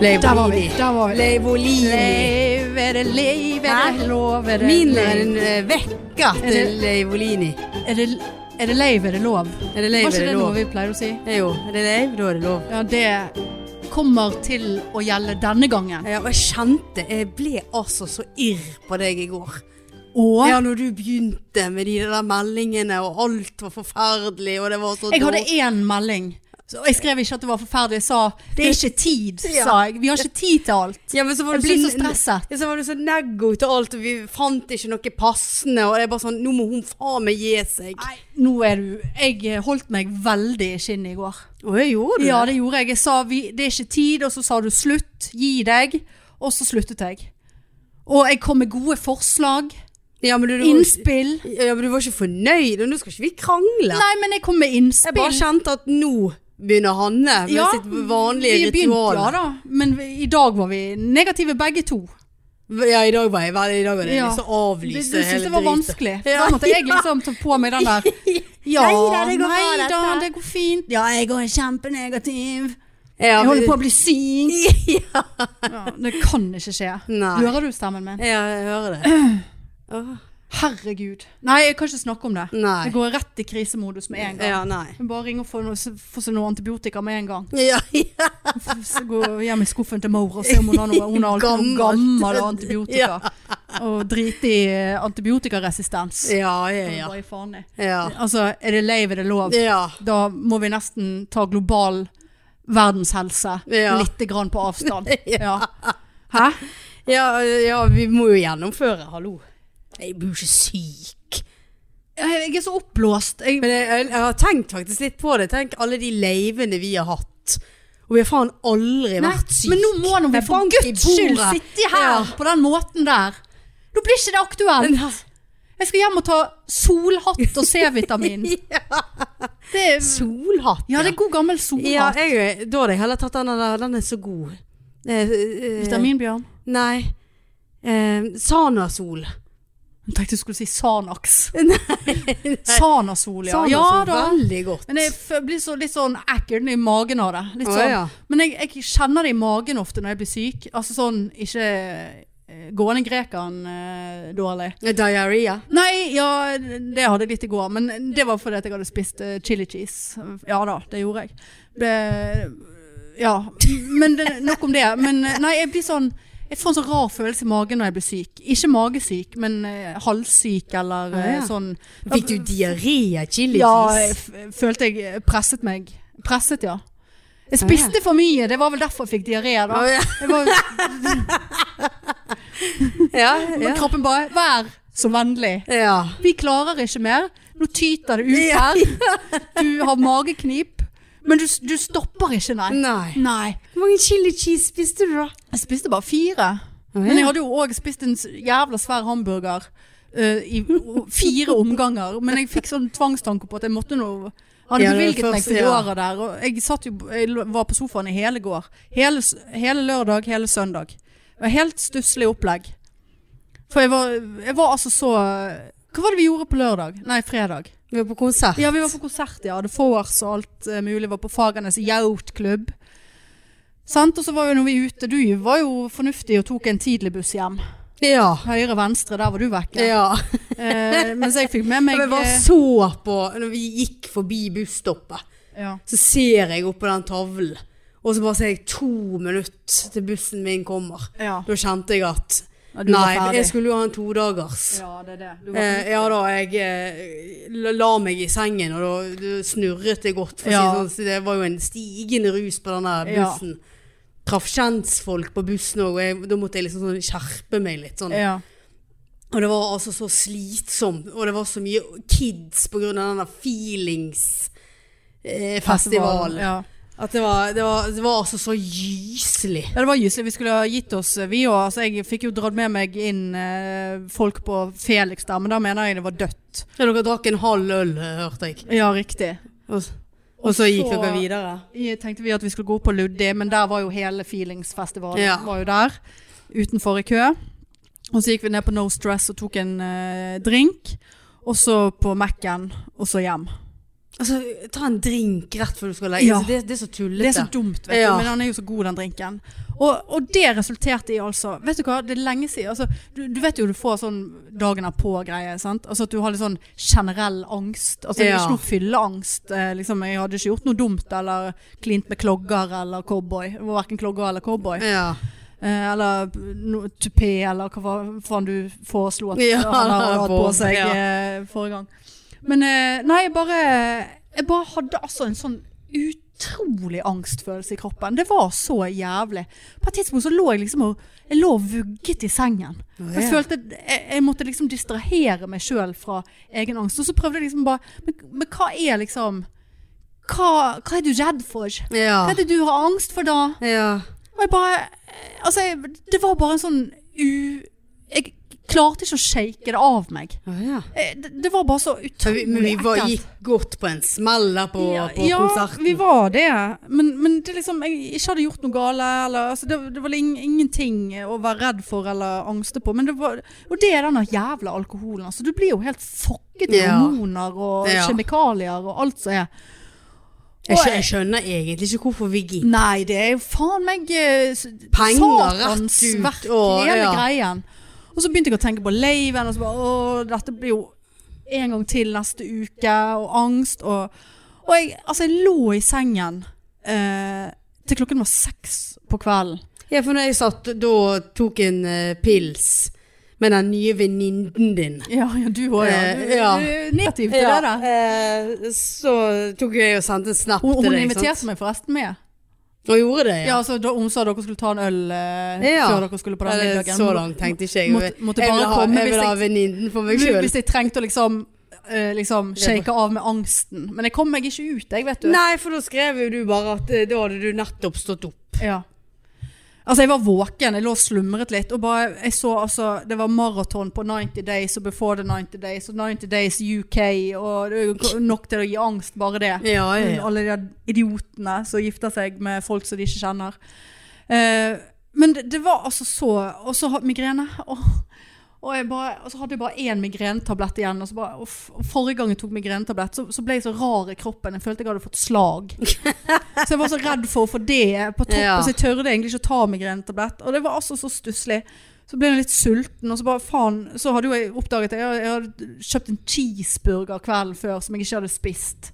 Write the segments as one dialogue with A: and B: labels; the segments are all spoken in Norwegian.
A: Der var vi. Der var vi.
B: Leivolini.
A: Leiv, er det leiv, er det
B: Hæ?
A: lov, er det
B: Min er
A: leiv?
B: en eh, vekka
A: Er
B: til
A: det-
B: Leivolini.
A: Er det, er det leiv, er det lov?
B: Er det leiv,
A: Var ikke
B: er det
A: det noe
B: lov?
A: vi pleier å si?
B: Eh, Jo, er det leiv, da er det lov.
A: Ja, det kommer til å gjelde denne gangen.
B: Ja, og jeg kjente Jeg ble altså så irr på deg i går.
A: Og
B: Ja, når du begynte med de der meldingene, og alt var forferdelig, og det var så
A: jeg hadde
B: dårlig.
A: én melding. Så jeg skrev ikke at det var forferdelig. Jeg sa det er ikke tid,
B: Ja.
A: sa jeg. Vi har ikke tid til alt.
B: ja, men så var
A: Jeg
B: du
A: blir så
B: ne-
A: stresset.
B: Ja, så var du så neggo til alt, og vi fant ikke noe passende, og jeg bare sånn Nå må hun faen meg gi seg.
A: Nei, nå er du Jeg holdt meg veldig i skinnet i går.
B: Å, jeg gjorde
A: Ja, det gjorde jeg. Jeg sa vi, det er ikke tid, og så sa du slutt, gi deg. Og så sluttet jeg. Og jeg kom med gode forslag,
B: Ja, men du, du,
A: innspill.
B: ja, men du var ikke fornøyd, og nå skal ikke vi krangle.
A: Nei, men jeg kom med
B: Jeg
A: innspill.
B: bare kjente at nå begynner Hanne med
A: Ja,
B: sitt vanlige
A: vi begynte,
B: ritual.
A: Ja da, men vi, i dag var vi negative begge to.
B: Ja, i dag var jeg veldig I dag var det
A: Ja.
B: liksom
A: Du, du
B: avlyse
A: syntes det var
B: driten.
A: vanskelig. For
B: Ja.
A: Da måtte jeg liksom ta på meg den der Ja,
B: Neida, det går bra,
A: nei da,
B: dette.
A: det går fint. Ja, jeg går kjempenegativ.
B: Ja,
A: Jeg holder
B: men-
A: på å bli syk.
B: ja.
A: Ja, det kan ikke skje.
B: Nei.
A: Hører du stemmen min?
B: ja, jeg hører det. Åh,
A: Herregud. Nei, jeg kan ikke snakke om det.
B: Nei.
A: Jeg går rett i krisemodus med en gang.
B: Ja, nei.
A: Jeg Bare ring og få noe, få seg noe antibiotika med en gang.
B: Ja, ja.
A: Så gå hjem i skuffen til mor og se om hun har noe Hun har alltid noe
B: Gammelt.
A: gammel antibiotika. Og drite i eh, antibiotikaresistens.
B: Ja, ja, ja.
A: Bare i faen i.
B: Ja.
A: Altså, er det lei, er det lov?
B: ja.
A: Da må vi nesten ta global verdenshelse
B: Ja.
A: lite grann på avstand. Ja.
B: Ja.
A: Hæ?
B: Ja, ja, vi må jo gjennomføre, hallo. Jeg blir jo ikke syk.
A: Jeg er så oppblåst. Jeg,
B: Men jeg, jeg, jeg har tenkt faktisk litt på det. Tenk alle de leivene vi har hatt. Og vi har faen aldri
A: Nei,
B: vært syke.
A: Men nå må nå vi
B: Med
A: for
B: bank i
A: guds skyld
B: bordet.
A: sitte her
B: Ja.
A: på den måten der. Nå blir ikke det aktuelt. Jeg skal hjem og ta solhatt og C-vitamin. Det er,
B: Solhatt.
A: ja, det er god gammel
B: Ja, eh,
A: solhatt.
B: jeg, da hadde jeg heller tatt den der. Den er så god. Eh, eh,
A: Vitaminbjørn.
B: Nei. Eh, Sanasol.
A: Jeg tenkte du skulle si Sanax.
B: Nei,
A: Sanasol, ja.
B: Sanasol,
A: ja da.
B: Veldig godt.
A: Men jeg f- blir så, litt sånn ekkel i magen av det. Litt
B: Å,
A: sånn.
B: ja.
A: Men jeg, jeg kjenner det i magen ofte når jeg blir syk. Altså sånn ikke eh, gående grekeren eh, dårlig.
B: Diaré.
A: Nei, ja, det hadde jeg litt i går, men det var fordi at jeg hadde spist eh, chili cheese. Ja da, det gjorde jeg. Det- ja, men det, nok om det. Men eh, nei, jeg blir sånn Jeg får en sånn rar følelse i magen når jeg blir syk. Ikke magesyk, men eh, halssyk eller eh,
B: Ah, ja.
A: sånn.
B: Fikk du diaré av chili
A: Ja, jeg
B: cheese?
A: f- følte jeg eh, presset meg. Presset, ja. Jeg spiste for mye, det var vel derfor jeg fikk diaré da.
B: ja.
A: Jeg var,
B: Ja, ja.
A: kroppen bare Vær så vennlig.
B: ja.
A: Vi klarer ikke mer. Nå tyter det ut
B: Ja.
A: her. Du har mageknip. Men du, du stopper ikke, nei.
B: Nei.
A: Nei.
B: Hvor mange chili cheese spiste du, da?
A: Jeg spiste bare fire. Men jeg hadde jo òg spist en s- jævla svær hamburger eh, i o- fire omganger. Men jeg fikk sånn tvangstanke på at jeg måtte nå Hadde
B: Ja, det var
A: bevilget meg
B: først,
A: til
B: ja.
A: året der. Og jeg, satt jo, jeg lo- var på sofaen i hele går. Hele, s- hele lørdag, hele søndag. Det var helt stusslig opplegg. For jeg var, jeg var altså så Hva var det vi gjorde på lørdag? Nei, fredag.
B: Vi var på konsert.
A: Ja, vi var på konsert, ja. The Force og alt eh, mulig. Var på Fagernes Youth-klubb. Sant? Og så var jo når vi ute Du var jo fornuftig og tok en tidlig buss hjem.
B: Ja.
A: Høyre-venstre, der var du vekke.
B: Ja.
A: Eh, mens jeg fikk med meg
B: Jeg bare
A: eh,
B: så på Når vi gikk forbi busstoppet,
A: eh, ja.
B: så ser jeg oppå den tavlen, og så bare ser jeg to minutter til bussen min kommer.
A: Ja.
B: Da kjente jeg at
A: ja,
B: Nei,
A: du var ferdig.
B: jeg skulle jo ha en todagers.
A: Ja, det er det. Du var
B: Eh, ja da, jeg eh, la- la meg i sengen, og da da snurret det godt. For
A: Ja.
B: å si det sånn, så det var jo en stigende rus på den der
A: Ja.
B: bussen. Traff kjentfolk på bussen òg, og jeg, da måtte jeg liksom sånn skjerpe meg litt. Sånn.
A: ja.
B: Og det var altså så slitsomt, og det var så mye kids på grunn av den der feelings-festivalen. Eh, festival.
A: Ja.
B: At det var, det, var, det var altså så gyselig.
A: ja, det var gyselig. Vi skulle ha gitt oss, eh, vi òg. Altså, jeg fikk jo dratt med meg inn eh, folk på Felix der, men da mener jeg det var dødt.
B: Ja, dere drakk en halv øl, hørte jeg.
A: Ja, riktig.
B: Og, og så gikk
A: så-
B: dere videre.
A: Jeg tenkte vi at vi skulle gå på Luddi, men der var jo hele Feelingsfestivalen
B: Ja.
A: var jo der. Utenfor i kø. Og så gikk vi ned på No Stress og tok en eh, drink. Og så på Mac-en, og så hjem.
B: Altså, ta en drink rett før du skal legge
A: Ja.
B: altså, det, det er så tullete.
A: Det er så dumt, vet
B: Ja.
A: du, men han er jo så god, den drinken. Og, og det resulterte i altså Vet du hva, det er lenge siden. Altså, du, du vet jo du får sånn dagen er på-greie. sant? Altså At du har litt sånn generell angst. Altså
B: Ja.
A: Ikke noe fylleangst. eh, liksom, Jeg hadde ikke gjort noe dumt eller klint med klogger eller cowboy. Det var Verken klogger eller cowboy.
B: Ja.
A: Eh, eller no, tupé, eller hva fa- faen du foreslo at
B: Ja,
A: han har hatt på
B: på,
A: seg
B: ja.
A: eh, forrige gang. Men eh, nei, jeg bare, jeg bare hadde altså en sånn utrolig angstfølelse i kroppen. Det var så jævlig. På et tidspunkt så lå jeg liksom og jeg lå og vugget i sengen.
B: Å,
A: Jeg
B: ja.
A: følte at jeg, jeg måtte liksom distrahere meg sjøl fra egen angst. Og så prøvde jeg liksom bare Men, men hva er liksom hva, hva er du redd for?
B: Ja.
A: Hva er det du har angst for da?
B: ja.
A: Og jeg bare Altså, jeg, det var bare en sånn u... Jeg klarte ikke å shake det av meg.
B: Å, ja.
A: Eh, Det, det var bare så
B: Men vi,
A: utrolig
B: men vi var,
A: ekkelt.
B: gikk godt på en smell der på,
A: ja,
B: på
A: ja,
B: konserten.
A: vi var det. Men, men det liksom, jeg ikke hadde gjort noe gale. Eller, altså, det, det var ing- ingenting å være redd for eller angste på. Men det var, og det er denne jævla alkoholen. Altså, du blir jo helt fucket i
B: Ja.
A: hormoner og
B: Ja.
A: kjemikalier og alt som er.
B: jeg,
A: Og
B: skjø- jeg skjønner egentlig ikke hvorfor vi gikk.
A: Nei, det er jo faen meg eh, s-
B: Penger
A: satans
B: rett ut,
A: verk,
B: og-
A: hele
B: ja.
A: greien. Og så begynte jeg å tenke på laven, og så bare Å, dette blir jo en gang til neste uke, og angst, og Og jeg, altså, jeg lå i sengen eh, til klokken var seks på kvelden.
B: Ja, for når jeg satt da tok en eh, pils med den nye venninnen din.
A: Ja, ja, du òg, ja. Du,
B: Eh, ja.
A: du er negativ til det der.
B: eh, så tok jeg og sendte en snap
A: Hun,
B: til
A: hun
B: deg.
A: inviterte meg forresten med.
B: sant? Og gjorde det,
A: Ja, altså, da, Hun sa dere skulle ta en øl eh,
B: Ja.
A: før dere skulle på den
B: Eller,
A: middagen.
B: så langt tenkte ikke jeg.
A: Måtte- måtte
B: jeg vil
A: bare
B: ha,
A: komme
B: jeg
A: hvis
B: vil ha
A: jeg-
B: venninnen for meg
A: Hvis-
B: sjøl.
A: Hvis jeg trengte å liksom, eh, liksom shake av med angsten. Men jeg kom meg ikke ut, jeg, vet du.
B: Nei, for da skrev jo du bare at eh, da hadde du nettopp stått opp.
A: Ja. Altså, jeg var våken, jeg lå og slumret litt, og bare, jeg så altså, det var maraton på 90 Days og Before the 90 Days, og 90 Days UK, og det er jo nok til å gi angst, bare det.
B: Ja, ja, ja.
A: Alle de der idiotene som gifter seg med folk som de ikke kjenner. Eh, men det, det var altså så Og så ha- migrene. Og, og, jeg bare, og så hadde jeg bare én migrenetablett igjen. Og så bare, uff, og forrige gang jeg tok migrenetablett, så, så ble jeg så rar i kroppen. Jeg følte jeg hadde fått slag. så jeg var så redd for å få det på toppen,
B: Ja.
A: så jeg tørde egentlig ikke å ta migrenetablett. Og det var altså så stusslig. Så ble jeg litt sulten, og så bare faen Så hadde jo jeg oppdaget det. Jeg, jeg hadde kjøpt en cheeseburger kvelden før som jeg ikke hadde spist.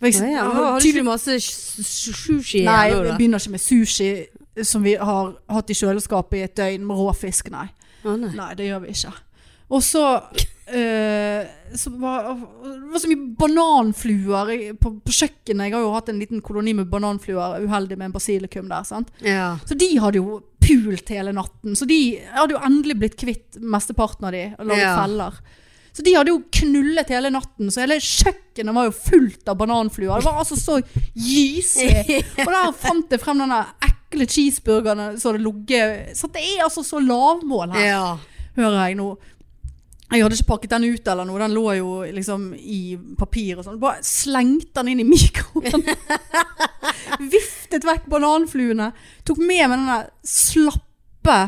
A: For jeg-
B: Ja, ja.
A: jeg
B: Har
A: hadde
B: har du ikke masse s- s- sushi her
A: Nei,
B: nå, da?
A: jeg begynner ikke med sushi eh, som vi har hatt i kjøleskapet i et døgn med rå fisk, nei.
B: Å, nei.
A: Nei, det gjør vi ikke. Og så eh, så var Det var så mye bananfluer i- på, på kjøkkenet. Jeg har jo hatt en liten koloni med bananfluer, uheldig med en basilikum der. sant?
B: Ja.
A: Så de hadde jo pult hele natten. Så de hadde jo endelig blitt kvitt mesteparten av de og laget
B: Ja.
A: feller. Så de hadde jo knullet hele natten, så hele kjøkkenet var jo fullt av bananfluer. Det var altså så gyselig. Og der fant jeg frem denne ekle cheeseburgeren som hadde ligget Så det er altså så lavmål her,
B: ja.
A: hører jeg nå. Jeg hadde ikke pakket den ut eller noe, den lå jo liksom i papir og sånn. Bare slengte den inn i mikroen. Viftet vekk bananfluene. Tok med meg den der slappe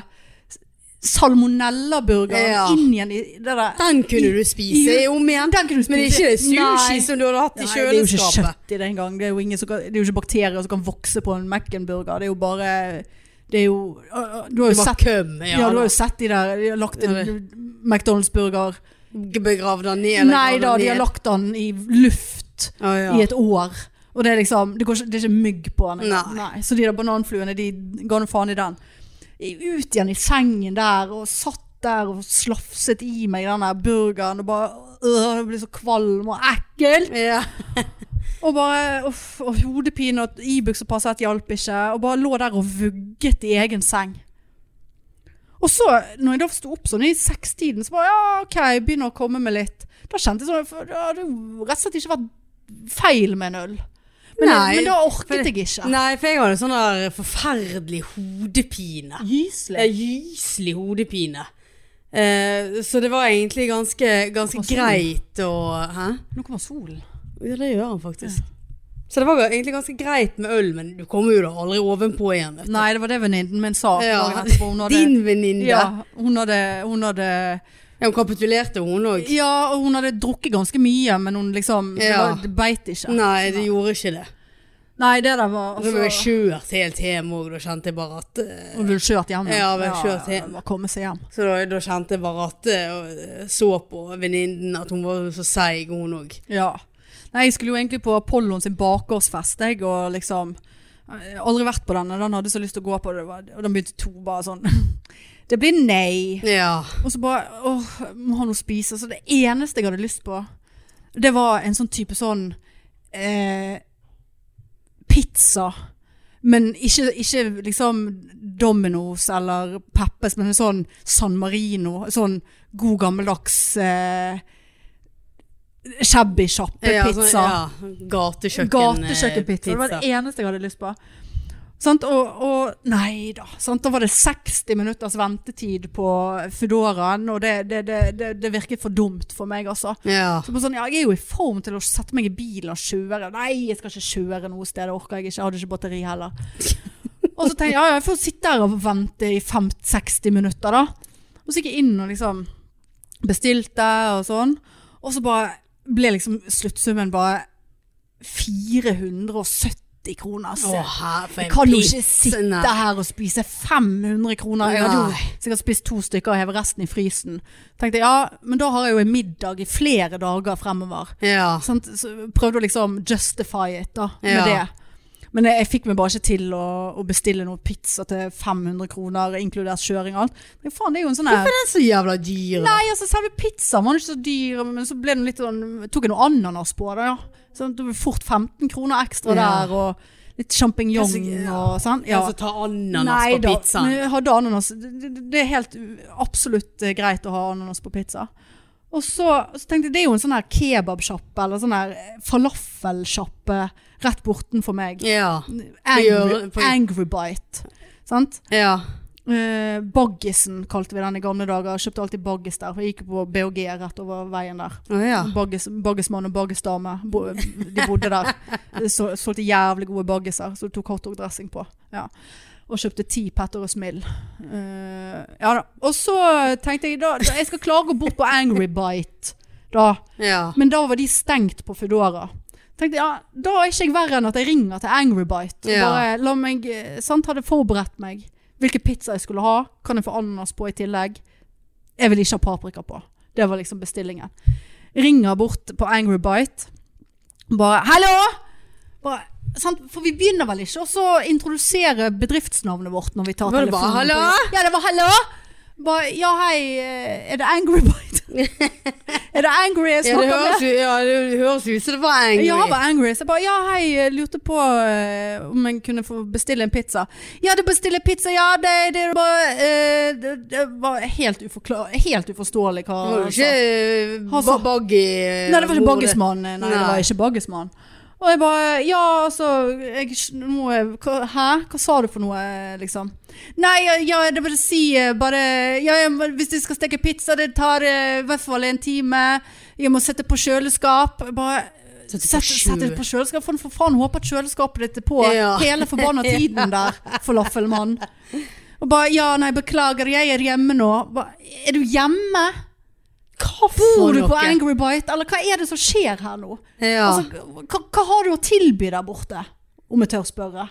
A: salmonellaburgeren
B: Ja.
A: inn igjen i det der.
B: Den kunne du spise
A: I-
B: om igjen.
A: Den kunne du
B: Men det er ikke det sushi
A: Nei.
B: som du hadde hatt i
A: Nei, det er jo ikke
B: kjøleskapet.
A: kjøtt i det engang. Det, er jo ingen som kan- det er jo ikke bakterier som kan vokse på en Mac-burger. Det er jo bare Det er jo Å, å, Du har
B: Det var
A: jo sett,
B: køm.
A: ja, du har jo sett de der De har lagt en
B: Ja,
A: McDonald's-burger
B: Begravd den ned? eller
A: Nei
B: gravd
A: da,
B: den
A: de har
B: ned?
A: lagt den i luft
B: Å, ja.
A: i et år. Og det er liksom Det, går ikke, det er ikke mygg på den. engang.
B: Nei.
A: Nei. Så de der bananfluene, de ga nå faen i den. Ut igjen i sengen der, og satt der og slafset i meg den der burgeren og bare øh, Jeg blir så kvalm og ekkel.
B: Ja.
A: Og bare uff, og hodepine og Ibux og Paracet hjalp ikke. Og bare lå der og vugget i egen seng. Og så, når jeg da sto opp sånn i sekstiden, så bare ja, OK, begynner å komme med litt. Da kjente jeg sånn for Det hadde jo rett og slett ikke vært feil med en øl. Men,
B: Nei,
A: men da
B: for-
A: orket jeg ikke.
B: Nei, for jeg hadde sånn der forferdelig hodepine. Ja,
A: Gyselig.
B: Gyselig hodepine. Eh, så det var egentlig ganske, ganske
A: Hva så?
B: greit å Hæ?
A: Nå kommer solen.
B: Ja, det gjør han faktisk. Så det var egentlig ganske greit med øl, men du kommer jo da aldri ovenpå igjen. vet du.
A: Nei, det var det venninnen min sa.
B: Ja.
A: dagen etterpå. Hun hadde-
B: Din venninne.
A: Ja, hun hadde, hun hadde
B: Ja, hun kapitulerte, hun òg.
A: Ja, og hun hadde drukket ganske mye, men hun liksom Det,
B: Ja.
A: var, det beit ikke.
B: Nei, det gjorde ikke det.
A: Nei, det der var
B: Så ble jeg
A: altså,
B: kjørt helt hjem òg. Da kjente jeg bare at eh,
A: Hun ville kjørt hjem.
B: Ja, hun ville kjørt hjem.
A: Bare komme seg hjem.
B: Så da, da kjente jeg bare at eh, Så på venninnen at hun var så seig, hun òg.
A: Ja. Nei, jeg skulle jo egentlig på Apollon sin bakgårdsfest, jeg, og liksom jeg har Aldri vært på den, og den hadde så lyst til å gå på det, var- og den begynte to bare sånn Det blir nei.
B: Ja.
A: Og så bare åh, må ha noe å spise. Så det eneste jeg hadde lyst på, det var en sånn type sånn eh, Pizza. Men ikke, ikke liksom Domino's eller Peppes, men en sånn San Marino. en Sånn god gammeldags eh, shabby
B: ja,
A: sjappe-pizza.
B: sånn- ja. Gatekjøkken.
A: Gatekjøkkenpizza. Det
B: eh,
A: var det eneste jeg hadde lyst på. Sant? Og, og nei da. Sant? Da var det 60 minutters ventetid på Fedoraen, og det, det, det, det, det virket for dumt for meg, altså.
B: Ja.
A: Så bare sånn, ja, jeg er jo i form til å sette meg i bilen og kjøre. Nei, jeg skal ikke kjøre noe sted. Det orker jeg ikke. Jeg hadde ikke batteri heller. Og så tenkte jeg ja, ja, jeg får sitte her og vente i 50-60 minutter, da. Og så gikk jeg inn og liksom bestilte og sånn. Og så bare ble liksom sluttsummen bare 470 kroner.
B: Å,
A: Altså.
B: her, for
A: Jeg
B: en
A: kan jo
B: pizza.
A: ikke sitte her og spise 500 kroner. Jeg hadde
B: Nei.
A: jo sikkert spist to stykker og hevet resten i frysen. Tenkte jeg, ja, men da har jeg jo en middag i flere dager fremover.
B: Ja.
A: Sant? Så prøvde å liksom justify it da, med
B: Ja.
A: det. Men jeg, jeg fikk meg bare ikke til å, å bestille noe pizza til 500 kroner, inkludert kjøring og alt. Men faen, det er jo en sånn her...
B: Hvorfor er den så jævla dyr? da?
A: Nei, altså selve pizzaen var jo ikke så dyr, men så ble den litt sånn Tok jeg noe ananas på det, ja. Så det ble fort 15 kroner ekstra
B: Ja.
A: der, og litt sjampinjong
B: Altså, ja.
A: og sånn. Ja.
B: Altså, ta ananas
A: Nei
B: på
A: da,
B: pizzaen.
A: men jeg hadde ananas. Det, det, det er helt u- absolutt eh, greit å ha ananas på pizza. Og så, så tenkte jeg, det er jo en sånn her kebabsjappe, eller sånn her eh, falafelsjappe rett bortenfor meg.
B: Ja.
A: Angry,
B: hjørnet- på-
A: angry Bite. Sant?
B: ja.
A: Eh, baggisen kalte vi den i gamle dager. Jeg Kjøpte alltid baggis der. for Jeg gikk på BHG rett over veien der.
B: Å, ja.
A: Baggis, baggismann og baggisdame. Bo, de bodde der. Så, solgte jævlig gode baggiser som du tok hotdog-dressing på. Ja. Og kjøpte ti Petter og Smill. Eh, ja da. Og så tenkte jeg da, da jeg skal klare å gå bort på Angry Bite. Da.
B: ja.
A: Men da var de stengt på Foodora. Tenkte, jeg, ja, da er ikke jeg verre enn at jeg ringer til Angry Bite. Og
B: Ja.
A: bare la meg, eh, sant, hadde forberedt meg. Hvilken pizza jeg skulle ha. Kan jeg få ananas på i tillegg? Jeg vil ikke ha paprika på. Det var liksom bestillingen. Ringer bort på Angry Bite. Bare, hallo! Bare, sant? For vi begynner vel ikke også å introdusere bedriftsnavnet vårt når vi tar
B: Var det bare
A: telefonen. på-
B: hallo?
A: Ja, det var hallo! Bare, ja hei, eh, er det Angry Bite? er det Angry jeg
B: Ja, det
A: snakker med?
B: høres, jo- ja, det høres ut som det var angry.
A: Ja, han var angry. Så jeg bare, ja, hei, jeg lurte på eh, om jeg kunne få bestille en pizza. Ja, du bestiller pizza, ja, det, det, var, eh, det, det var helt, uforklar- helt uforståelig hva
B: Det var jo
A: han sa.
B: ikke eh,
A: Han sa-
B: ba- Baggy eh,
A: Altså- Nei, det var ikke
B: hvor
A: baggismann. Nei, det var
B: Nei.
A: ikke baggismann. Og jeg bare Ja, altså jeg, nå er- hva, Hæ? Hva sa du for noe, liksom? Nei, ja, ja det vil si eh, bare ja, jeg, må- Hvis du skal steke pizza, det tar eh, i hvert fall en time. Jeg må sette på kjøleskap. Jeg Bare
B: Sette på
A: Sette,
B: kjø-
A: sette det på kjøleskap. For for faen håpe at kjøleskapet ditt er på
B: Ja.
A: hele forbanna tiden der, falafelmann. Og bare Ja, nei, beklager, jeg er hjemme nå. Bare, er du hjemme?
B: Hva
A: Bor
B: for
A: du på
B: noe?
A: Angry Bite, eller hva er det som skjer her nå?
B: Ja.
A: Altså, hva, hva har du å tilby der borte? Om jeg tør spørre.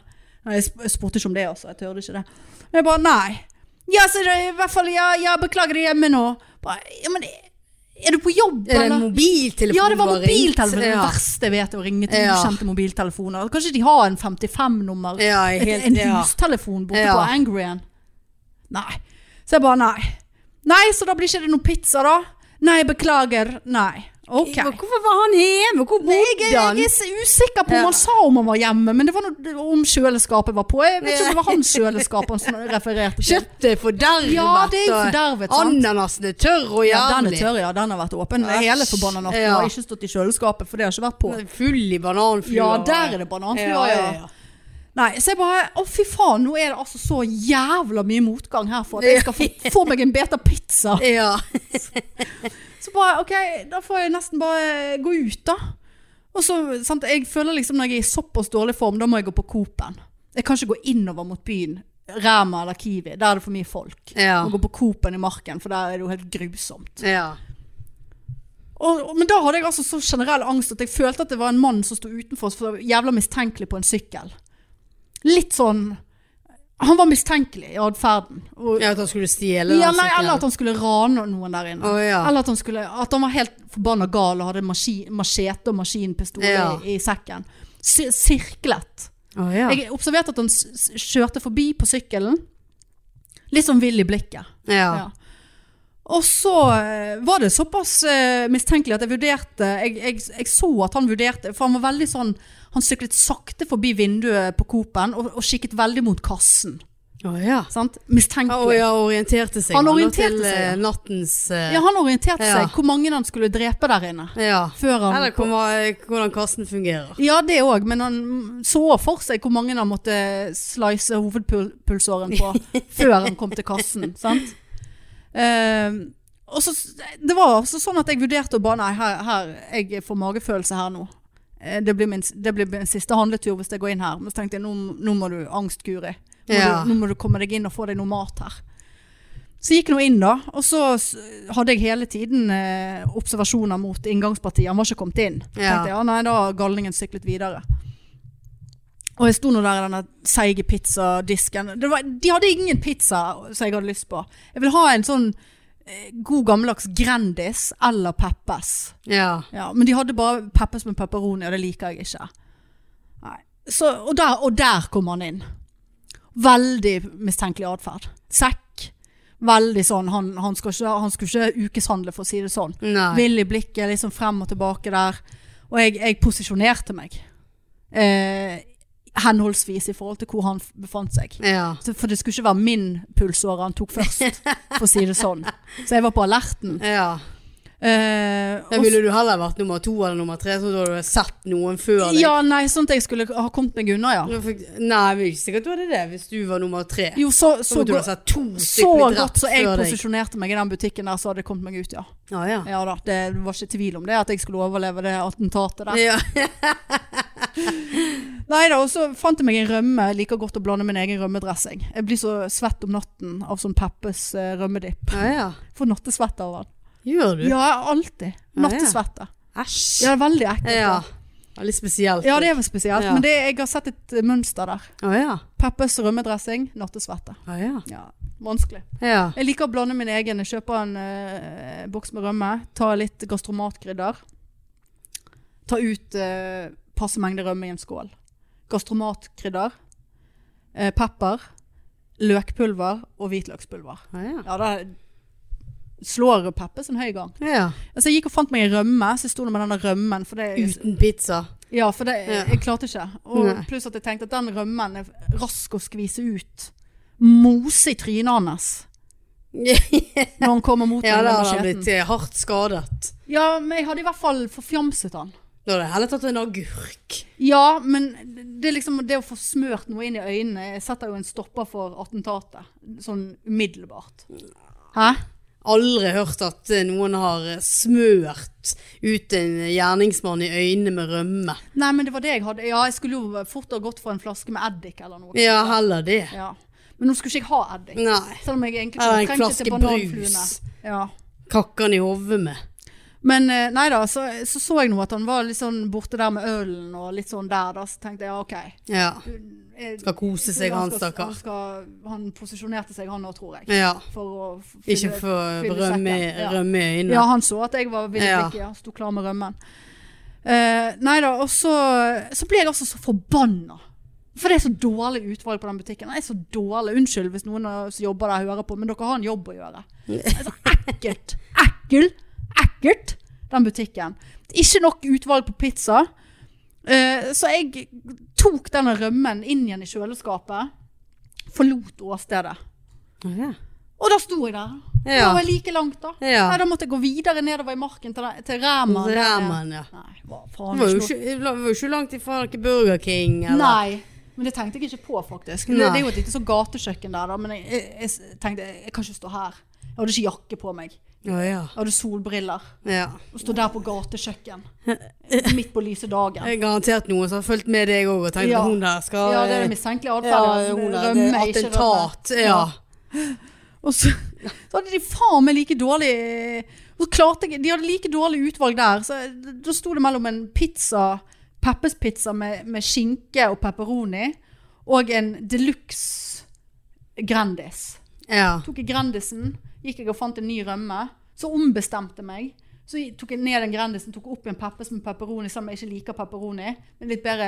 A: Nei, Jeg sp- jeg spurte ikke om det, altså. Jeg tørde ikke det. Men jeg bare nei. Ja, så det er i hvert fall, ja, ja beklager det hjemme nå. Bare, ja, men er du på
B: er
A: jobb,
B: det en
A: eller?
B: mobiltelefon?
A: Ja, det var
B: bare ringt?
A: mobiltelefonen. Det
B: Ja.
A: verste jeg vet er å ringe til
B: Ja.
A: ukjente mobiltelefoner. Kanskje de har en 55-nummer
B: Ja, jeg
A: et,
B: helt,
A: en
B: ja.
A: hustelefon borte
B: Ja.
A: på Angryen. Nei. Så jeg bare nei. Nei, så da blir ikke det noe pizza, da? Nei, beklager. Nei. OK.
B: Men Hvorfor var han hjemme? Hvor
A: Nei,
B: bodde
A: jeg, jeg,
B: han?
A: jeg er så usikker på om
B: Ja.
A: han sa om han var hjemme, men det var noe om kjøleskapet var på. Jeg vet ikke om det var hans kjøleskap han sn- refererte til.
B: Kjøttet er fordervet.
A: Ja, det er jo
B: og
A: fordervet, sant?
B: Ananasen er tørr og jævlig.
A: Ja, den er tørr, ja. Den har vært åpen
B: Æsj,
A: hele forbanna natten.
B: ja.
A: Har ikke stått i kjøleskapet, for det har ikke vært på.
B: Den er Full i bananfluer.
A: Ja, der er det
B: Ja,
A: bananfluer,
B: ja,
A: ja. Nei, så jeg bare Å, fy faen, nå er det altså så jævla mye motgang her for at jeg skal få, få meg en beta pizza.
B: ja. ja.
A: Så bare, ok, da får jeg nesten bare gå ut da. Og så, sant, jeg føler liksom når jeg er i såpass dårlig form, da må jeg gå på Coop-en. Jeg kan ikke gå innover mot byen Rema eller Kiwi. Der er det for mye folk.
B: Ja.
A: Å gå på Coop-en i Marken, for der er det jo helt grusomt.
B: ja.
A: Og, og, men da hadde jeg altså så generell angst at jeg følte at det var en mann som sto utenfor oss, for det var jævla mistenkelig på en sykkel. Litt sånn Han var mistenkelig i atferden. Og-
B: Ja, at han skulle stjele
A: Ja,
B: den
A: nei,
B: sykkelen.
A: eller at han skulle rane noen der inne.
B: Å, ja.
A: Eller at han, skulle, at han var helt forbanna gal og hadde maski- machete og maskinpistol
B: Ja.
A: i, i sekken. Sir- Sirklet.
B: Å, ja.
A: Jeg observerte at han s- s- kjørte forbi på sykkelen. Litt sånn vill i blikket.
B: ja.
A: Ja. Og så eh, var det såpass eh, mistenkelig at jeg vurderte jeg, jeg, jeg så at han vurderte For han var veldig sånn Han syklet sakte forbi vinduet på Coop-en og, og kikket veldig mot kassen.
B: Å, ja.
A: Sant?
B: Ja,
A: Mistenkelig.
B: og ja, orienterte seg
A: Han
B: nå
A: orienterte
B: til
A: seg,
B: eh,
A: ja.
B: nattens eh,
A: Ja, han orienterte
B: Ja.
A: seg hvor mange han skulle drepe der inne.
B: ja.
A: Før han
B: Eller kom, hvordan kassen fungerer.
A: Ja, det òg, men han så for seg hvor mange han måtte slice hovedpulsåren på før han kom til kassen. Sant? Eh, og så, det var altså sånn at jeg vurderte å bare Nei, her, her, jeg får magefølelse her nå. Eh, Det blir, min, det blir min siste handletur hvis jeg går inn her. Men så tenkte jeg nå, nå må du angstkure. Nå, må
B: Ja.
A: du- nå må du komme deg inn og få deg noe mat her. Så jeg gikk nå inn da, og så s- hadde jeg hele tiden eh, observasjoner mot inngangspartiet. Han var ikke kommet inn. Så
B: Ja.
A: tenkte jeg, ja nei, da har galningen syklet videre. Og jeg sto nå der i denne seige pizzadisken. Det var, de hadde ingen pizza som jeg hadde lyst på. Jeg vil ha en sånn eh, god gammeldags Grandis eller Peppes.
B: Ja.
A: Ja, men de hadde bare Peppes med pepperoni, og det liker jeg ikke. Nei. Så, og, der, og der kom han inn. Veldig mistenkelig atferd. Sekk. Veldig sånn, han, han, skal ikke, han skulle ikke ukeshandle, for å si det sånn.
B: Nei.
A: Vill i blikket, liksom frem og tilbake der. Og jeg, jeg posisjonerte meg. Eh, henholdsvis i forhold til hvor han f- befant seg.
B: Ja.
A: Så- For det skulle ikke være min pulsåre han tok først, for å si det sånn. Så jeg var på alerten.
B: ja.
A: Eh,
B: Da
A: og
B: ville du heller vært nummer to eller nummer tre, sånn at du hadde sett noen før deg.
A: Ja, nei, sånn at jeg skulle ha kommet meg unna, ja.
B: Nå fikk- Nei, men ikke sikkert du hadde det hvis du var nummer tre.
A: Jo, så,
B: Så
A: så,
B: måtte du ha
A: godt,
B: sett to
A: så
B: stykker bli
A: godt
B: drept
A: så jeg
B: før deg. Ah.
A: posisjonerte meg i den butikken der, så hadde jeg kommet meg ut, ja.
B: Ja, ja.
A: Ja da, det var ikke tvil om det, at jeg skulle overleve det attentatet der.
B: Ja.
A: Nei da, og så fant jeg meg en rømme, jeg liker godt å blande min egen rømmedressing. Jeg blir så svett om natten av sånn Peppes eh, rømmedipp.
B: ja, ja.
A: Får nattesvett av den.
B: Gjør du?
A: Ja, alltid.
B: Ah, Ja, ja.
A: Nattesvette.
B: Æsj.
A: Ja, det er veldig ekkelt.
B: Ja.
A: da.
B: Veldig spesielt.
A: Ja, det er vel spesielt,
B: Ja.
A: men det, jeg har sett et eh, mønster der.
B: Å ja.
A: Peppes rømmedressing, nattesvette.
B: Å ja.
A: Ja, vanskelig.
B: Ja.
A: Jeg liker å blande min egen. Jeg kjøper en eh, boks med rømme, tar litt gastromatkrydder. Tar ut eh, passe mengde rømme i en skål. Gastromatkrydder, eh, pepper, løkpulver og hvitløkspulver.
B: Å ja.
A: Ja, da slår Peppes en høy gang.
B: Ja.
A: Altså, jeg gikk og fant meg en rømme, så jeg sto der med denne rømmen. For det,
B: Uten pizza.
A: ja, for det,
B: Ja.
A: jeg klarte ikke. Og
B: Nei.
A: pluss at jeg tenkte at den rømmen er rask å skvise ut. Mose i trynet hans når han kommer mot
B: Ja,
A: meg
B: da
A: med
B: hadde han
A: macheten.
B: blitt eh, hardt skadet.
A: Ja, men jeg hadde i hvert fall forfjamset han.
B: Da hadde jeg heller tatt en agurk.
A: Ja, men det, er liksom, det å få smørt noe inn i øynene jeg setter jo en stopper for attentatet. Sånn umiddelbart. Hæ?
B: Aldri hørt at eh, noen har eh, smørt ut en gjerningsmann i øynene med rømme.
A: Nei, men det var det jeg hadde. Ja, jeg skulle jo fort ha gått for en flaske med eddik eller noe.
B: Ja, heller det.
A: Ja. Men nå skulle ikke jeg ha eddik.
B: Nei.
A: Selv om jeg egentlig
B: Eller en
A: kunne trengt det til
B: flaske
A: bananfluene.
B: brus.
A: Ja.
B: Kakker han i hodet med.
A: Men eh, nei da, så, så så jeg nå at han var litt sånn borte der med ølen og litt sånn der, da. Så tenkte jeg ja, OK.
B: Ja.
A: Jeg-
B: Skal kose seg, han
A: skal- Han,
B: stakkar.
A: skal, han posisjonerte seg, han òg, tror jeg.
B: Ja.
A: For å f-
B: Ikke
A: fylle-
B: få
A: fylle
B: rømme,
A: sekken, ja.
B: rømme i øynene.
A: Ja, han så at jeg var villig
B: Ja.
A: ikke, ja. Sto klar med rømmen. Eh, nei da, og så, så ble jeg altså så forbanna. For det er så dårlig utvalg på den butikken. Det er så dårlig. Unnskyld hvis noen av oss jobber der hører på, men dere har en jobb å gjøre. Det er så ekkelt. Ekkel. Ekkelt, den butikken. Ikke nok utvalg på pizza. Eh, så jeg tok denne rømmen inn igjen i kjøleskapet. Forlot åstedet.
B: Ja.
A: Og da sto jeg der.
B: Ja.
A: Det var like langt, da.
B: Ja.
A: Nei, da måtte jeg gå videre nedover i marken til, til Ræma.
B: Til Ræman, ja.
A: Nei, hva
B: Det
A: faen
B: var jo
A: ikke
B: ikke, det var jo ikke langt ifra noe Burger King,
A: noe-
B: eller?
A: Nei, men det tenkte jeg ikke på, faktisk. Det, det er jo et lite sånn gatekjøkken der, da, men jeg, jeg, jeg tenkte jeg, jeg kan ikke stå her. Jeg hadde ikke jakke på meg.
B: Å ja.
A: Jeg hadde solbriller
B: ja.
A: og stod der på gatekjøkken midt på lyse dagen.
B: Jeg er garantert noen som har fulgt med deg òg og tenkt
A: Ja.
B: at hun der skal eh,
A: Ja, det er mistenkelig
B: Ja,
A: atferd.
B: hun der, det
A: Rømme,
B: er
A: ikke rømme.
B: attentat. Ja.
A: Og så, så hadde de faen meg like dårlig så klarte jeg, De hadde like dårlig utvalg der. Så da sto det mellom en pizza, Peppers pizza med, med skinke og pepperoni, og en de luxe Grandis.
B: ja.
A: Tok jeg Grandisen, gikk jeg og fant en ny rømme. Så ombestemte jeg meg. Så jeg tok jeg ned den Grandisen, tok opp en Peppers med pepperoni, selv om jeg ikke liker pepperoni. Men litt bedre,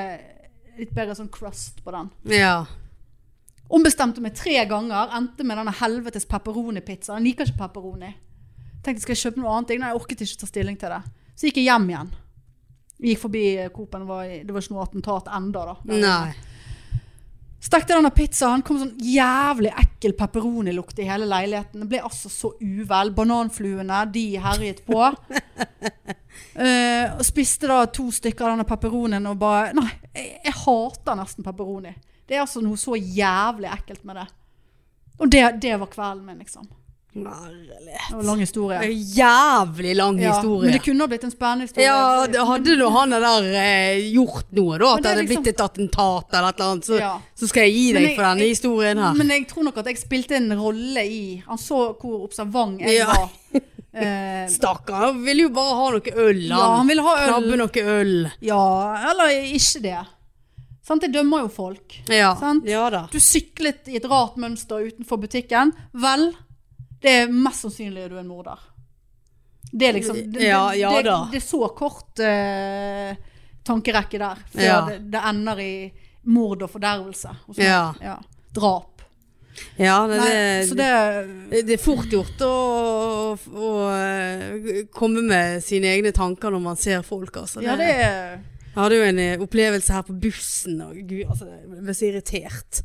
A: litt bedre sånn crust på den.
B: ja.
A: Ombestemte meg tre ganger, endte med denne helvetes pepperoni-pizzaen. Jeg liker ikke pepperoni. Tenkte skal jeg kjøpe noe annet? Jeg- Nei, jeg orket ikke ta stilling til det. Så gikk jeg hjem igjen. Jeg gikk forbi eh, Coop-en, det var- det var ikke noe attentat enda da.
B: Nei.
A: Stekte denne pizzaen, kom sånn jævlig ekkel pepperonilukt i hele leiligheten. Jeg ble altså så uvel. Bananfluene, de herjet på. Eh, og spiste da to stykker av denne pepperonien og bare Nei, jeg, jeg hater nesten pepperoni. Det er altså noe så jævlig ekkelt med det. Og det, det var kvelden min, liksom. Det var en lang historie.
B: En jævlig lang
A: Ja,
B: historie.
A: men det kunne ha blitt en spennende historie.
B: Ja, det hadde nå han der eh, gjort noe, da,
A: Men
B: at
A: det
B: det
A: er
B: hadde
A: liksom-
B: blitt et attentat eller et eller annet, så,
A: Ja.
B: så skal jeg gi
A: Men
B: deg
A: jeg-
B: for denne
A: jeg-
B: historien her.
A: Men jeg tror nok at jeg spilte en rolle i Han så hvor observant jeg
B: Ja.
A: var. Eh,
B: Stakkar, han ville jo bare ha noe øl, han.
A: ja, han ville ha øl.
B: Knabbe noe øl.
A: Ja, eller ikke det. Sant? Jeg dømmer jo folk.
B: Ja.
A: Sant?
B: ja da.
A: Du syklet i et rart mønster utenfor butikken. Vel, det er mest sannsynlig er du en morder. Det er liksom det,
B: Ja, ja
A: det,
B: da.
A: det er så kort eh, tankerekke der. Før
B: Ja.
A: det, det ender i mord og fordervelse. og sånn.
B: Ja.
A: Drap.
B: Ja, det,
A: Nei, så
B: det,
A: det
B: det er fort gjort å, å, eh, komme med sine egne tanker når man ser folk, altså.
A: Ja, det er
B: Jeg hadde jo en eh, opplevelse her på bussen, og gud, altså, jeg ble så irritert.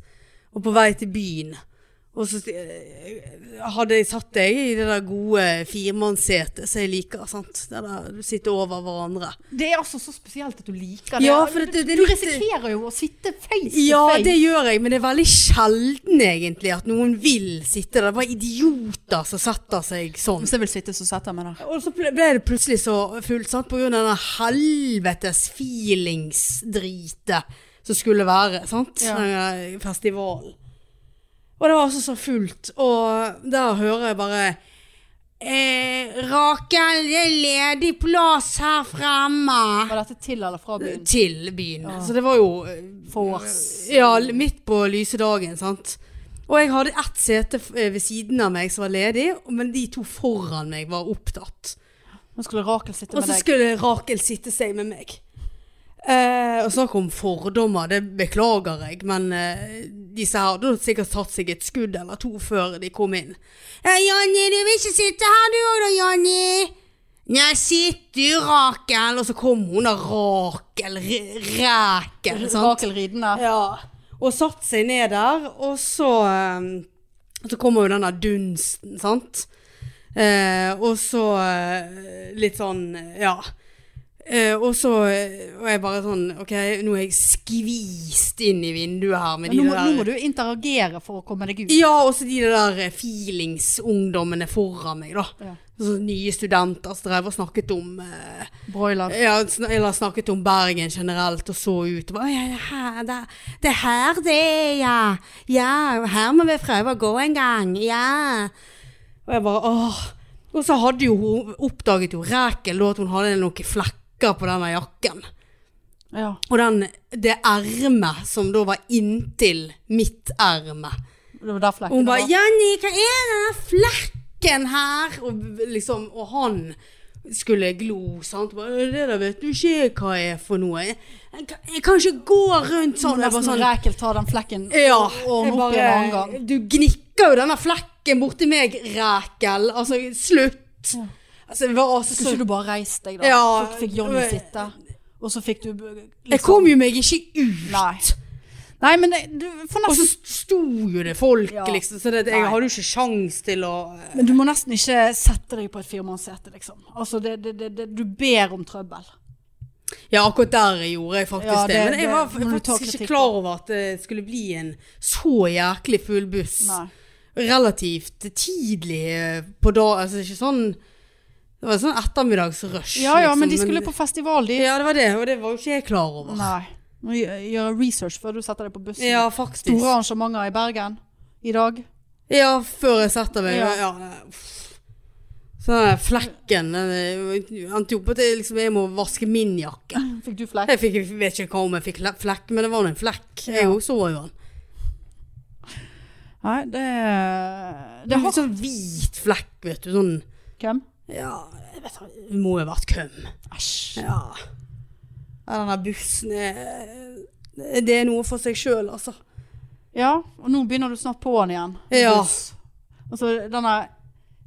B: Og på vei til byen. Og så eh, hadde jeg satt deg i det der gode firmannssetet som jeg liker, sant. Det der du sitter over hverandre.
A: Det er altså så spesielt at du liker det.
B: Ja, for det- det er
A: du
B: litt-
A: risikerer jo å sitte face to
B: Ja,
A: face.
B: det gjør jeg, men det er veldig sjelden egentlig at noen vil sitte der. Det var idioter som setter seg sånn.
A: Hvis jeg vil sitte, så setter jeg meg der.
B: Og så ble ble det plutselig så fullt, sant, på grunn av den helvetes feelingsdritet som skulle være, sant,
A: Ja.
B: den eh, festivalen. Og det var altså så fullt, og der hører jeg bare eh, Rakel, det er ledig plass her fremme.
A: Var dette til eller fra byen?
B: Til byen. Så det var jo eh,
A: Fors.
B: Ja, l- midt på lyse dagen, sant. Og jeg hadde ett sete f- eh, ved siden av meg som var ledig, men de to foran meg var opptatt.
A: Nå skulle Rakel sitte
B: Og
A: med
B: så
A: deg.
B: skulle Rakel sitte seg med meg. Eh, og snakk om fordommer, det beklager jeg, men eh, disse her hadde sikkert tatt seg et skudd eller to før de kom inn. Eh, 'Janni, du vil ikke sitte her du òg da, Janni?' 'Nei, sitt du, Rakel.' Og så kom hun da, Rakel, R- Rækel, sant.
A: Rakel ridende.
B: Ja, og satt seg ned der, og så, eh, så kommer jo denne dunsten, sant? Eh, og så eh, litt sånn, ja. Eh, og så eh, var jeg bare sånn, ok, nå er jeg skvist inn i vinduet her med
A: Men nå,
B: de
A: må-
B: der...
A: nå må du interagere for å komme deg ut.
B: Ja, og så de der eh, feelingsungdommene foran meg da.
A: Ja.
B: Så nye studenter som drev og snakket om... Eh,
A: Broiler.
B: ja, sn- eller snakket om Bergen generelt og så ut. Bare, ja, det, her, det, det her det er, ja. Ja, her må vi prøve å gå en gang. Ja. Og jeg bare, åh. Og så hadde jo hun oppdaget jo Rækel da at hun hadde noen flekker på denne jakken.
A: Ja.
B: Og den, det ermet som da var inntil mitt erme.
A: Det var der flekken
B: Og hun bare
A: var.
B: 'Jenny, hva er denne flekken her?' Og, b- liksom, og han skulle glo, sant. Hun Bare, 'Det der vet du ikke hva er for noe.' Jeg, jeg, jeg kan ikke gå rundt sånn. Jeg
A: Nå må nesten
B: bare sånn
A: Rakel ta den flekken
B: ja, jeg
A: og ordne opp i en annen gang.
B: bare, du gnikker jo denne flekken borti meg, Rækel. Altså, slutt. Altså, det var altså så
A: Skulle ikke du bare reist deg, da?
B: Ja.
A: Så fikk Jonny sitte. Og så fikk du liksom,
B: Jeg kom jo meg ikke ut.
A: Nei. Nei, men det- du får
B: Og så
A: nesten
B: Altså, sto jo det folk,
A: Ja.
B: liksom. Så det,
A: Nei.
B: jeg hadde jo ikke sjans til å eh,
A: Men du må nesten ikke sette deg på et firmannssete, liksom. Altså, det, det, det, det, du ber om trøbbel.
B: Ja, akkurat der gjorde jeg faktisk
A: Ja,
B: det,
A: det-
B: Men jeg
A: det
B: var
A: må du ta
B: faktisk
A: kritikk
B: ikke
A: på.
B: klar over at det skulle bli en så jæklig full buss.
A: Nei.
B: relativt tidlig eh, på dag Altså ikke sånn Det var sånn ettermiddagsrush.
A: Ja ja, men de
B: liksom,
A: skulle på festival, de.
B: Ja, det var det, og det var jo ikke jeg klar over.
A: Nei. Må gjø- gjøre research før du setter deg på bussen.
B: Ja, faktisk.
A: Store arrangementer i Bergen i dag.
B: Ja, før jeg setter meg.
A: Ja.
B: Ja. nei, uff. så den der flekken den eh, endte jo opp at jeg, liksom, jeg må vaske min jakke.
A: Fikk du flekk?
B: Jeg fikk, jeg vet ikke hva om jeg fikk le- flekk, men det var nå en flekk. Jeg
A: Ja.
B: også så jo den.
A: Nei, det Det
B: Det
A: har
B: var sånn hvit flekk, vet du. Sånn
A: Hvem?
B: Ja, jeg vet ikke. Det må jo ha vært køm.
A: Æsj.
B: Ja. ja den der bussen er Det er noe for seg sjøl, altså.
A: Ja, og nå begynner du snart på den igjen.
B: Ja.
A: Buss. Altså, denne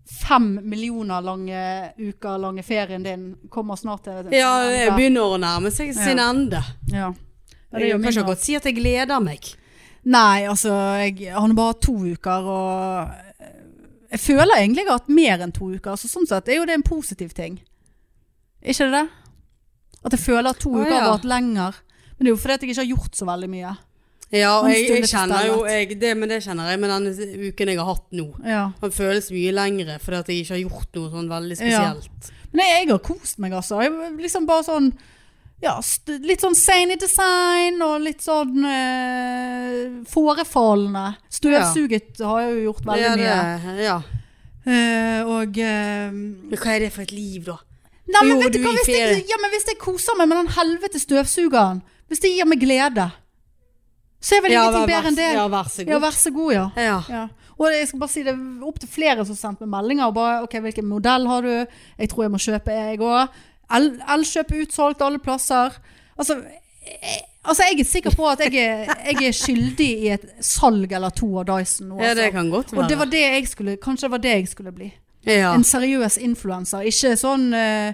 A: fem millioner lange uker lange ferien din kommer snart til
B: Ja, det begynner å nærme seg sin ende.
A: Ja. Ja, det
B: Jeg
A: gjør
B: kan
A: min
B: ikke
A: også.
B: godt si at jeg gleder meg.
A: Nei, altså, jeg har nå bare to uker, og eh, jeg føler egentlig jeg har hatt mer enn to uker, så sånn sett er jo det en positiv ting. Er ikke det det? At jeg føler at to
B: Å,
A: uker har
B: ja.
A: vært lenger. Men det er jo fordi at jeg ikke har gjort så veldig mye.
B: Ja, og
A: Han
B: jeg, jeg
A: stillet
B: kjenner jo
A: stemmet.
B: jeg, det, men det kjenner jeg med denne uken jeg har hatt nå.
A: Ja.
B: Han føles mye lengre fordi at jeg ikke har gjort noe sånn veldig spesielt.
A: Men jeg, jeg har kost meg, altså. Jeg, liksom bare sånn ja, st litt sånn sane i design, og litt sånn eh, forefallende. Støvsuget har jeg jo gjort veldig
B: ja,
A: mye.
B: det- ja.
A: Eh, og eh,
B: Men hva er det for et liv, da?
A: Nei, men
B: Jo,
A: vet du
B: du
A: hva,
B: gir
A: hvis jeg,
B: ferie.
A: ja, men hvis jeg koser meg med den helvete støvsugeren, hvis det gir meg glede, så er vel
B: vær-
A: ingenting bedre enn det.
B: Ja,
A: Ja,
B: vær så god.
A: vær så god, ja.
B: Ja,
A: ja. Og jeg skal bare si det er opp til flere som har sendt meg meldinger og bare, ok, hvilken modell har du? Jeg tror jeg må kjøpe jeg også. El- Elkjøp er utsolgt alle plasser. Altså, jeg, altså, jeg er sikker på at jeg er, jeg er skyldig i et salg eller to av Dyson. nå,
B: ja, det
A: altså.
B: kan godt være.
A: Og det var det jeg skulle, kanskje det var det jeg skulle bli.
B: ja.
A: En seriøs influenser. Ikke sånn eh,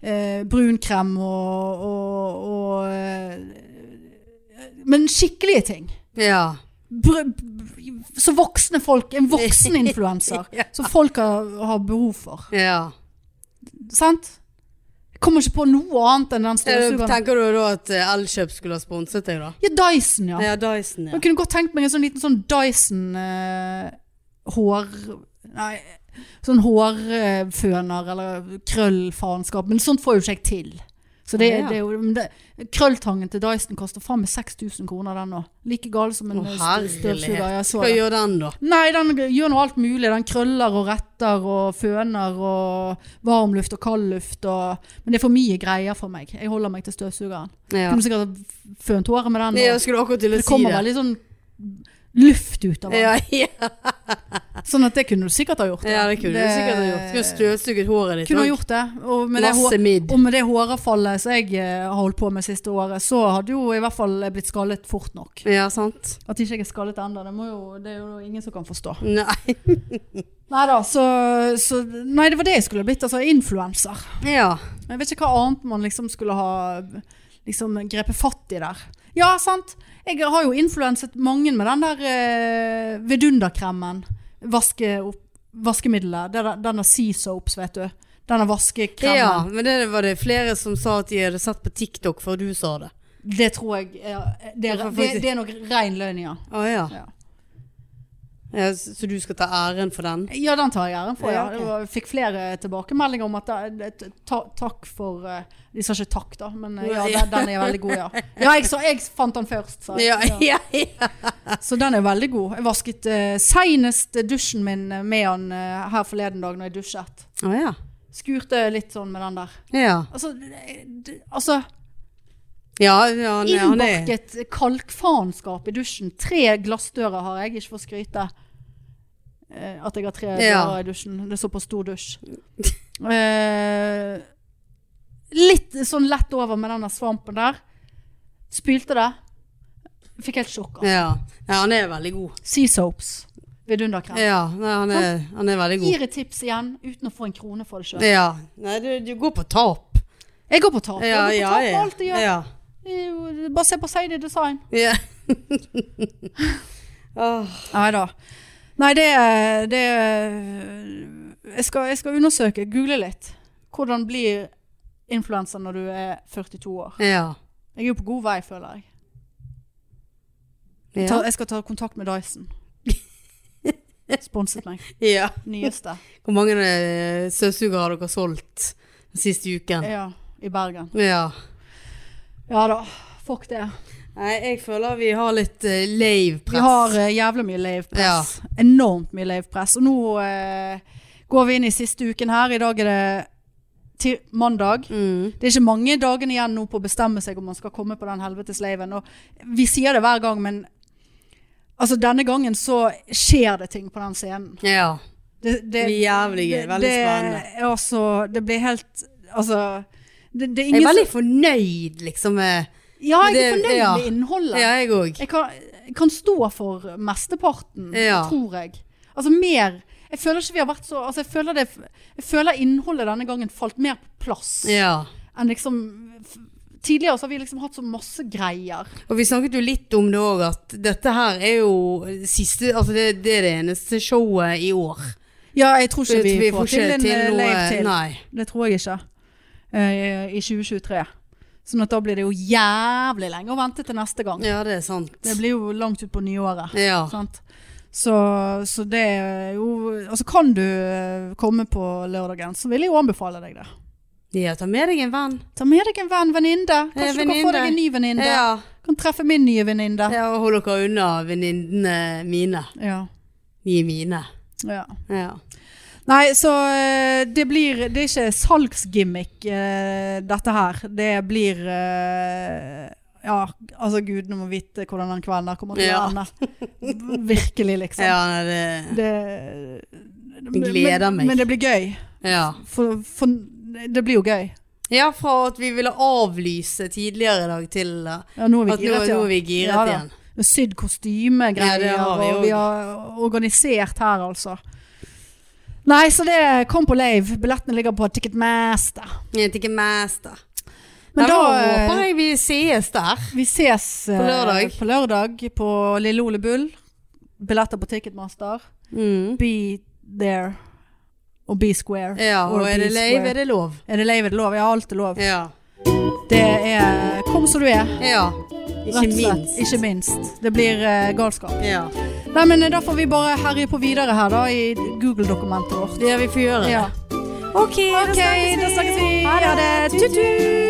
A: eh, brunkrem og, og, og eh, Men skikkelige ting.
B: ja.
A: Br br så voksne folk. En voksen influenser.
B: Ja.
A: Som folk har, har behov for.
B: ja.
A: Sant? Jeg kommer ikke på noe annet enn den
B: Ja,
A: støvsugeren.
B: Tenker du da at eh, Elkjøp skulle ha sponset deg, da?
A: Ja, Dyson, ja.
B: Ja, Dyson, ja.
A: Jeg kunne godt tenkt meg en sånn liten sånn Dyson eh, hår... Nei, sånn hårføner eller krøllfaenskap. Men sånt får jo ikke jeg til. Så det,
B: Ja.
A: det er jo, men det, krølltangen til Dyson koster faen meg 6000 kroner den nå. Like gal som en
B: Å,
A: eh, stø- støvsuger.
B: herlighet.
A: Jeg så
B: Hva
A: det.
B: gjør den, da?
A: Nei, den gjør nå alt mulig. Den krøller og retter og føner og varmluft og kaldluft og Men det er for mye greier for meg. Jeg holder meg til støvsugeren.
B: Ja.
A: Kunne sikkert ha fønt håret med den. og-
B: Jeg skulle akkurat til å
A: det
B: si
A: kommer
B: det.
A: veldig sånn luft ut av den.
B: Ja, ja.
A: Sånn at det kunne du sikkert ha gjort.
B: ja, det kunne du sikkert ha gjort. Skulle ha støvsuget håret ditt.
A: Kunne
B: da.
A: ha gjort det. Og med det, hår-
B: Masse midd.
A: og med det håravfallet som jeg eh, har holdt på med siste året, så hadde jo i hvert fall jeg blitt skallet fort nok.
B: Ja, sant.
A: At ikke jeg er skallet ennå, det, må jo- det er jo ingen som kan forstå.
B: Nei.
A: Nei da, så, så Nei, det var det jeg skulle blitt. Altså influenser.
B: Ja.
A: Jeg vet ikke hva annet man liksom skulle ha liksom, grepet fatt i der. Ja, sant. Jeg har jo influenset mange med den der eh, vidunderkremmen. Vaske opp, vaskemiddelet. Det der- Denne sea soaps, vet du. Denne
B: ja,
A: vaskekremen.
B: men det var det flere som sa at de hadde sett på TikTok før du sa det.
A: Det tror jeg er Det, er- det, det er nok rein løgn, ja.
B: Å ja.
A: Ja.
B: Ja, s- Så du skal ta æren for den?
A: Ja, den tar jeg æren for. Ja.
B: Ja, ok.
A: Det var- Jeg fikk flere tilbakemeldinger om at da- ta, takk for eh, De sa ikke takk, da, men eh, ja, den, den er veldig god, ja. Ja, jeg, sa- jeg fant den først, sa jeg.
B: Ja, ja, ja.
A: Så den er veldig god. Jeg vasket eh, senest dusjen min med han eh, her forleden dag når jeg dusjet.
B: Å ja.
A: Skurte litt sånn med den der.
B: Ja,
A: Altså, det- det- altså
B: ja, ja han, er- han er
A: innbakket kalkfaenskap i dusjen. Tre glassdører har jeg, ikke for å skryte. eh, At jeg har tre
B: Ja.
A: dører i dusjen. Det er såpass stor dusj. Eh, litt sånn lett over med den der svampen der. Spylte det. Fikk helt sjokk. Altså.
B: ja. ja, han er veldig god.
A: Sea soaps. Vidunderkrem.
B: Ja, nei, han, er, han er veldig god.
A: Gir et tips igjen uten å få en krone for det sjøl.
B: Ja. Nei, du, du går på tap.
A: Jeg går på tap.
B: Ja,
A: jeg
B: ja,
A: går på tap på
B: ja.
A: alt jeg gjør.
B: ja.
A: Det er jo- Bare se på Seidi Design.
B: ja.
A: Ah.
B: Åh.
A: Nei da. Nei, det, det jeg, skal, jeg skal undersøke, google litt. Hvordan blir influenser når du er 42 år?
B: Ja.
A: Jeg er jo på god vei, føler jeg. Jeg,
B: Ja.
A: tar, jeg skal ta kontakt med Dyson. Sponset meg.
B: Ja.
A: Nyeste.
B: Hvor mange eh, søvsugere har dere solgt den siste uken?
A: Ja, I Bergen.
B: Ja.
A: Ja da. Fuck det.
B: Nei, jeg føler vi har litt uh, lave
A: Vi
B: press.
A: har eh, jævlig mye lavepress. Enormt mye lavepress. Og nå eh, går vi inn i siste uken her. I dag er det ti mandag.
B: Mm.
A: Det er ikke mange dagene igjen nå på å bestemme seg om man skal komme på den helvetes laven. Og vi sier det hver gang, men altså denne gangen så skjer det ting på den scenen.
B: Ja.
A: Det, det,
B: Det blir jævlig gøy. Veldig spennende.
A: Det, er altså, det blir helt Altså det, det er
B: Jeg
A: ingen
B: er veldig fornøyd, liksom. Med,
A: som Ja, jeg er
B: det-
A: fornøyd
B: ja.
A: med innholdet.
B: ja, jeg òg.
A: Jeg kan, jeg kan stå for mesteparten,
B: Ja.
A: tror jeg. Altså mer Jeg føler ikke vi har vært så altså, jeg, føler det, jeg føler innholdet denne gangen falt mer på plass
B: Ja.
A: enn liksom f- Tidligere så har vi liksom hatt så masse greier.
B: Og vi snakket jo litt om det òg, at dette her er jo siste Altså, det, det er det eneste showet i år.
A: Ja, jeg tror ikke vi,
B: Vi
A: får til en eh, lave til.
B: Nei.
A: Det tror jeg ikke. eh, I 2023. Sånn at da blir det jo jævlig lenge å vente til neste gang.
B: Ja, det er sant.
A: Det blir jo langt utpå nyåret.
B: Ja.
A: Sant? Så, så det er jo Altså kan du eh, komme på lørdagen, så vil jeg jo anbefale deg det.
B: ja. Ta med deg en venn.
A: Ta med deg en venn, venninne. Kanskje
B: Eh,
A: du kan få
B: venninne.
A: deg en ny venninne.
B: Ja.
A: Kan treffe min nye venninne. Ja.
B: ja. Og hold dere unna venninnene mine.
A: Ja.
B: De er mine. Ja.
A: Nei, så eh, det blir Det er ikke salgsgimmick, eh, dette her. Det blir eh, Ja, altså gudene må vite hvordan den kvelden der kommer til å
B: Ja.
A: ende. Virkelig, liksom.
B: Ja, nei, det
A: Det,
B: Gleder
A: men,
B: meg.
A: Men det blir gøy.
B: Ja.
A: For, for det blir jo gøy.
B: Ja, fra at vi ville avlyse tidligere i dag til eh,
A: Ja, nå er vi
B: at nå,
A: giret, ja.
B: nå er vi giret
A: Ja da.
B: igjen.
A: Sydd kostymegreier,
B: Ja, det har vi
A: og
B: også.
A: vi har organisert her, altså. Nei, så det kom på lave. Billettene ligger på Ticketmaster.
B: Jeg vet ikke mest, da.
A: Men
B: Nei,
A: da,
B: håper
A: eh,
B: jeg vi sees der.
A: vi ses eh,
B: På lørdag.
A: på lørdag på Lille Ole Bull. Billetter på Ticketmaster. Be there. Og be square.
B: Ja,
A: Or
B: og er
A: be
B: det lave,
A: square.
B: er det lov.
A: Er det lave, er det lov? Ja, alt er lov.
B: Ja.
A: Det er eh, Kom som du er.
B: ja. Ikke
A: rett og slett.
B: minst.
A: Ikke minst. Det blir eh, galskap.
B: Ja.
A: Nei, men eh, da får vi bare herje på videre her da, i Google-dokumentet vårt.
B: Det vi får gjøre.
A: Ja.
B: Ok,
A: Ok, da snakkes vi. Ha det. Tut-tut.